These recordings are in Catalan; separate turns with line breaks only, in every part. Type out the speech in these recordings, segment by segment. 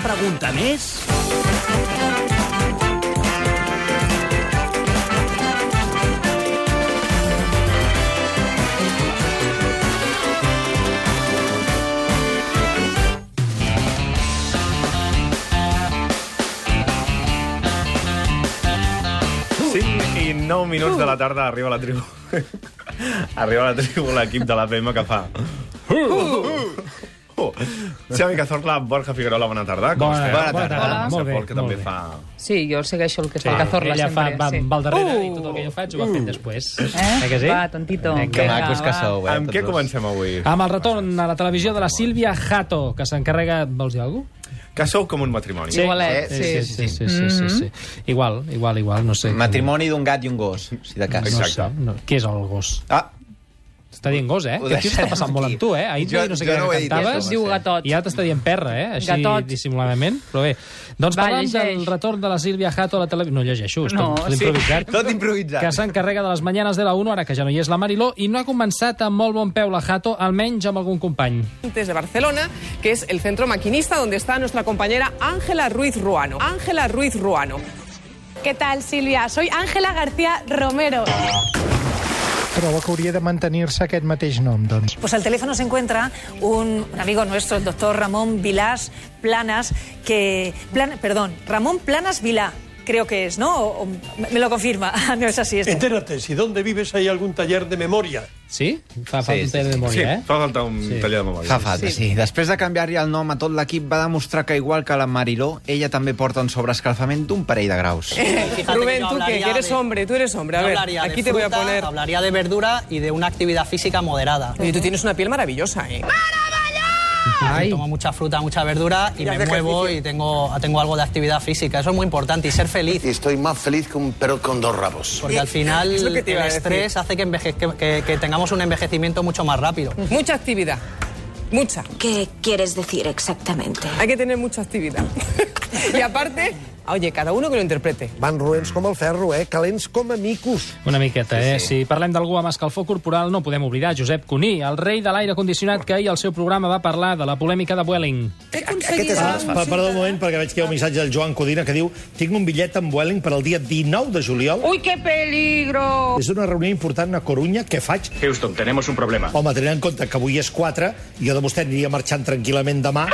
pregunta més?
Cinc i 9 minuts de la tarda arriba la tribu. arriba la tribu l'equip de l'APM que fa... Uh! Xavi Cazorla, Borja Figuerola, bona tarda. Com
Bona-
esteu?
bona tarda. Hola.
Molt
Molt
bé,
bé,
que
molt
també
bé.
fa...
Sí, jo segueixo el que fa
Sí,
Cazorla
ella fa,
sempre.
va,
sí.
va al darrere i tot el
Uh.
que jo faig ho va fent després.
Eh?
Eh que sí?
Va, tontito.
Vinga.
Que
Vinga,
macos que
va.
sou, eh?
Amb què
tots dos.
comencem avui?
Amb el retorn a la televisió de la Sílvia Jato, que s'encarrega... Vols dir alguna cosa?
Que sou com un matrimoni.
Igualet, sí. Mm-hmm.
sí, sí, sí, sí, sí. Igual, igual, igual, no sé.
Matrimoni d'un gat i un gos, si de cas.
No
Exacte.
sé, no. Què és el gos?
Ah,
Està dient gos, eh? Aquest
Ho
tio està
deixarem
passant molt
aquí.
amb tu, eh? Ahir
Jo-
jo, no sé
jo
què
no ho he dit,
cantaves.
això,
Es diu gatot.
I ara t'està dient perra, eh? Així
Gatot.
dissimuladament, però bé. Doncs
Va,
parlant
llegeix.
del retorn de la Sílvia Jato a la televisió... No llegeixo, estic
No,
no,
sí.
improvisat.
tot improvisat.
que s'encarrega de les mañanes de la 1, ara que ja no hi és la Mariló, i no ha començat amb molt bon peu la Jato, almenys amb algun company.
de Barcelona, que es el centro maquinista donde está nuestra compañera Ángela Ruiz Ruano. Ángela Ruiz Ruano.
¿Qué tal, Silvia? Soy Ángela García Romero.
Trobo que hauria de mantenir-se aquest mateix nom, doncs.
Pues al teléfono se encuentra un, un amigo nuestro, el doctor Ramón Vilás Planas, que. Plan- perdón, Ramón Planas Vilá, creo que es, ¿no? O- o- me lo confirma. no es así, este.
Entérate, si donde vives hay algún taller de memoria.
Sí? Fa, fa
Sí,
sí, un sí,
sí,
de
sí.
Sí,
memòria,
fa falta un
eh? Sí.
taller de memòria.
Fa falta, sí. sí. Després de canviar-li el nom a tot l'equip, va demostrar que, igual que la Mariló, ella també porta un sobreescalfament d'un parell de graus.
Rubén, tú que, que eres hombre, tú eres hombre. A ver, aquí te voy a poner.
Hablaría de verdura y de una actividad física moderada.
Oye, tú tienes una piel maravillosa, ¿eh?
Ai,
Tomo mucha fruta, mucha verdura y,
Y
me
hace
muevo y tengo, tengo algo de actividad física. Eso es muy importante y ser feliz.
Estoy más feliz que un perro con dos rabos.
Porque al final
Es lo que te
el
iba a decir.
estrés hace que, enveje- que- que- que tengamos un envejecimiento mucho más rápido.
Mucha actividad. Mucha.
¿Qué quieres decir exactamente?
Hay que tener mucha actividad. y aparte, oye, cada uno que lo interprete.
Van roents com el ferro, eh? Calents com a micos.
una miqueta, eh? Si parlem d'algú amb escalfor corporal, no podem oblidar Josep Cuní, el rei de l'aire condicionat que ahir al seu programa va parlar de la polèmica de Vueling.
Ah, perdó un moment, perquè veig que hi ha un missatge del Joan Codina que diu tinc un bitllet amb Welling per al dia 19 de juliol.
Uy, qué peligro.
És una reunió important a Corunya. Què faig?
Houston, tenemos un problema.
Home, tenint en compte que avui és 4, jo de vostè aniria marxant tranquil·lament demà.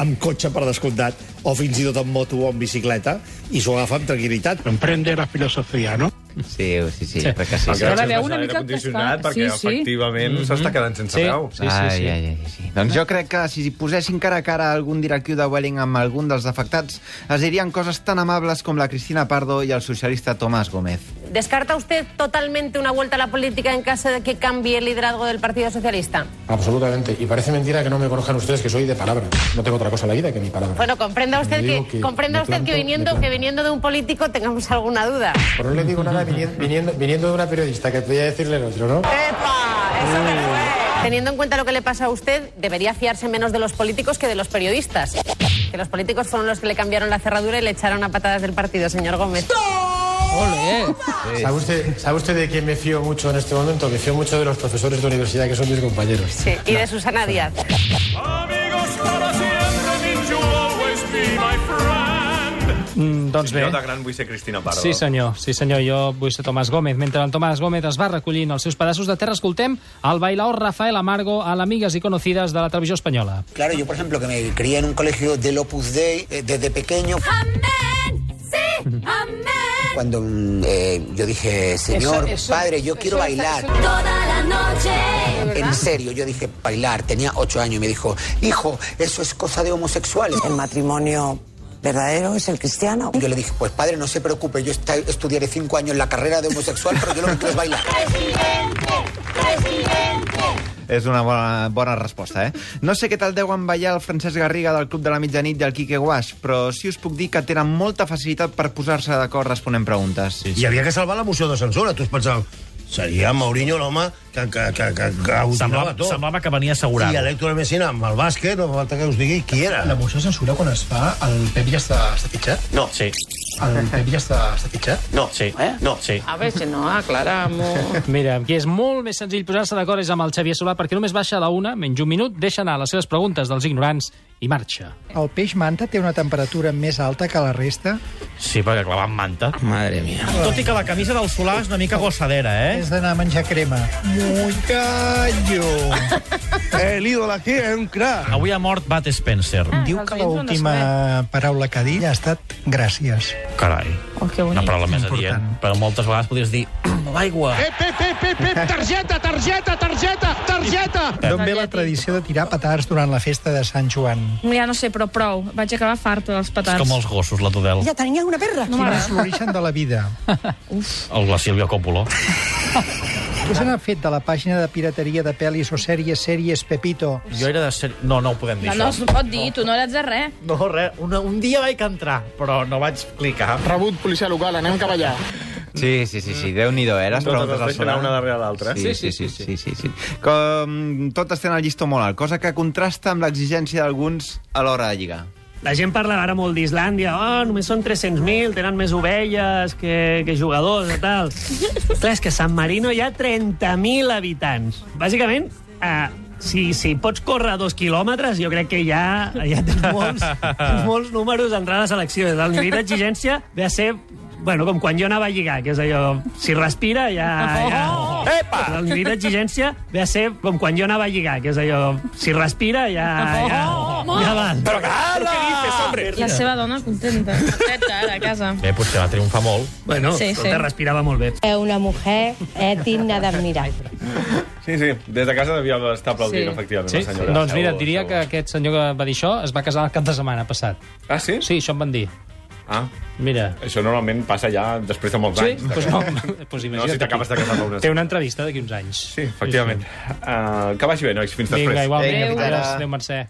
Amb cotxe, per descomptat, o fins i tot amb moto o amb bicicleta, i s'ho agafa amb tranquil·litat.
Emprende la filosofia, no?
Sí, sí, sí, sí. perquè sí.
Sí,
sí.
Però a veure,
gràcies,
una
aire
mica el que es fa-
condicionat, Perquè,
sí, sí.
efectivament, s'està quedant sense
Mhm. Sí.
veu.
Sí, sí, sí.
Ai, ai, ai, sí. Doncs jo crec que si posessin cara a cara algun directiu de Welling amb algun dels afectats, es dirien coses tan amables com la Cristina Pardo i el socialista Tomás Gómez.
¿Descarta usted totalmente una vuelta a la política en caso de que cambie el liderazgo del Partido Socialista?
Absolutamente. I parece mentira que no me conozcan ustedes, que soy de palabra. No tengo otra cosa en la vida que mi palabra.
Bueno, comprenda usted,
Le digo
que,
que
comprenda
me
usted que,
planto, me
viniendo,
planto.
que viniendo de un político tengamos alguna duda.
Pero no le digo nada viniendo, viniendo, viniendo de una periodista, que podía decirle el otro, ¿no?
Teniendo en cuenta lo que le pasa a usted, debería fiarse menos de los políticos que de los periodistas. Que los políticos fueron los que le cambiaron la cerradura y le echaron a patadas del partido, señor Gómez.
Ole!
¿Sabe usted, ¿Sabe usted de quién me fío mucho en este momento? Me fío mucho de los profesores de universidad, que son mis compañeros.
Sí, y de Susana Díaz.
Mm, doncs bé.
Jo de gran vull ser Cristina Pardo.
Sí, senyor. Sí, senyor. Jo vull ser Tomàs Gómez. Mentre el Tomàs Gómez es va recollint els seus pedaços de terra, escoltem el bailaor Rafael Amargo a l'Amigues i Conocides de la televisió espanyola.
Claro, yo por ejemplo que me crié en un colegio del Opus Dei eh, desde pequeño. Cuando yo dije,
Señor, eso- padre, yo eso quiero está- bailar". eso-
Toda la noche.
En serio, yo dije bailar, tenía ocho años y me dijo, hijo, eso es cosa de homosexuales.
El matrimonio verdadero es el cristiano.
Yo le dije, pues padre, no se preocupe, yo esta- estudiaré cinco años la carrera de homosexual, pero yo lo que quiero es bailar.
És una bona, bona resposta, eh? No sé què tal deuen ballar el Francesc Garriga del Club de la Mitjanit i el Quique Guaix, però sí us puc dir que tenen molta facilitat per posar-se d'acord responent preguntes.
Hi havia que salvar la moció de censura. Tu es pensaves, seria Mourinho l'home que, que, que, que, que ho tirava tot.
semblava que venia assegurat.
I l'Hèctor Messina amb el bàsquet, no fa falta que us digui qui era. La moció
No. Sí. El Pep ja està, està fitxat? No. Sí. Eh? No. Sí.
A ver si no ah, aclaramos.
Mira, amb qui és molt més senzill posar-se d'acord és amb el Xavier Solà, perquè només baixa a la una, menys un minut, deixa anar les seves preguntes dels ignorants i marxa.
El peix manta té una temperatura més alta que la resta?
Sí, perquè clavant manta. Madre mía.
Tot i que la camisa del Solà és una mica gossadera, eh?
És d'anar a menjar crema.
Mucallo! El ídol aquí és un crac. Avui ha mort Bat Spencer.
Diu que l'última paraula que ha dit ha estat gràcies.
Carai.
Oh, que
Una paraula més adient. Però moltes vegades podries dir... L'aigua.
Ep, ep, ep, ep, ep, targeta, targeta, targeta, targeta!
D'on ve la tradició de tirar petards durant la festa de Sant Joan?
Ja no sé, però prou. Vaig acabar farta dels
És
petards.
com els gossos, la Tudel.
tenia una perra.
No
No Quin
m'agrada.
és l'origen de la vida?
El la Sílvia Coppola.
Què se n'ha fet de la pàgina de pirateria de pel·lis o sèries, sèries Pepito?
Jo era de ser... No, no ho podem dir,
No, no, es
això.
pot dir, tu no eres de res.
No, res. Una, un dia vaig entrar, però no vaig clicar. Rebut, policia local, anem cap allà.
Sí, sí, sí, sí. Déu-n'hi-do, eh? Les
Totes
preguntes
les
al
deixen anar
solar.
una darrere l'altra. eh?
Sí sí sí, sí, sí, sí, sí. Com totes tenen el llistó molt alt, cosa que contrasta amb l'exigència d'alguns a l'hora de lligar.
La gent parla ara molt d'Islàndia. Oh, només són 300.000, tenen més ovelles que, que jugadors i tal. Clar, és que a San Marino hi ha 30.000 habitants. Bàsicament, eh, si, si pots córrer dos quilòmetres, jo crec que ja, ja tens, molts, tens molts números d'entrada a selecció. El nivell d'exigència ve a ser Bueno, com quan jo anava a lligar, que és allò... Si respira, ja... ja... Epa! El nivell d'exigència ve a ser com quan jo anava a lligar, que és allò... Si respira, ja... ja, ja val. Però cala! Què dices, hombre?
La seva dona contenta. Contenta, ara, a casa.
Bé, potser va triomfar molt.
Bueno,
Sí,
sí,
sí.
sí. respirava molt bé.
Es una mujer es digna de admirar.
Sí, sí, des de casa devia estar aplaudint,
Sí.
sí. efectivament,
Sí?
la senyora.
Doncs mira, et
Segur,
diria que aquest senyor que va dir això es va casar el cap de setmana passat.
Ah, sí?
Sí, això em van dir.
Ah.
Mira.
Això normalment passa ja després de molts
Sí?
anys. de
Pues
casar.
no, pues
Doncs no, si
imagina't
t'acabes de
aquí.
casar fa unes...
Té una entrevista d'aquí uns anys. Sí,
Efectivament. Uh, que vagi bé, nois, fins
Vinga,
després.
igualment. Vinga, Adéu, Mercè.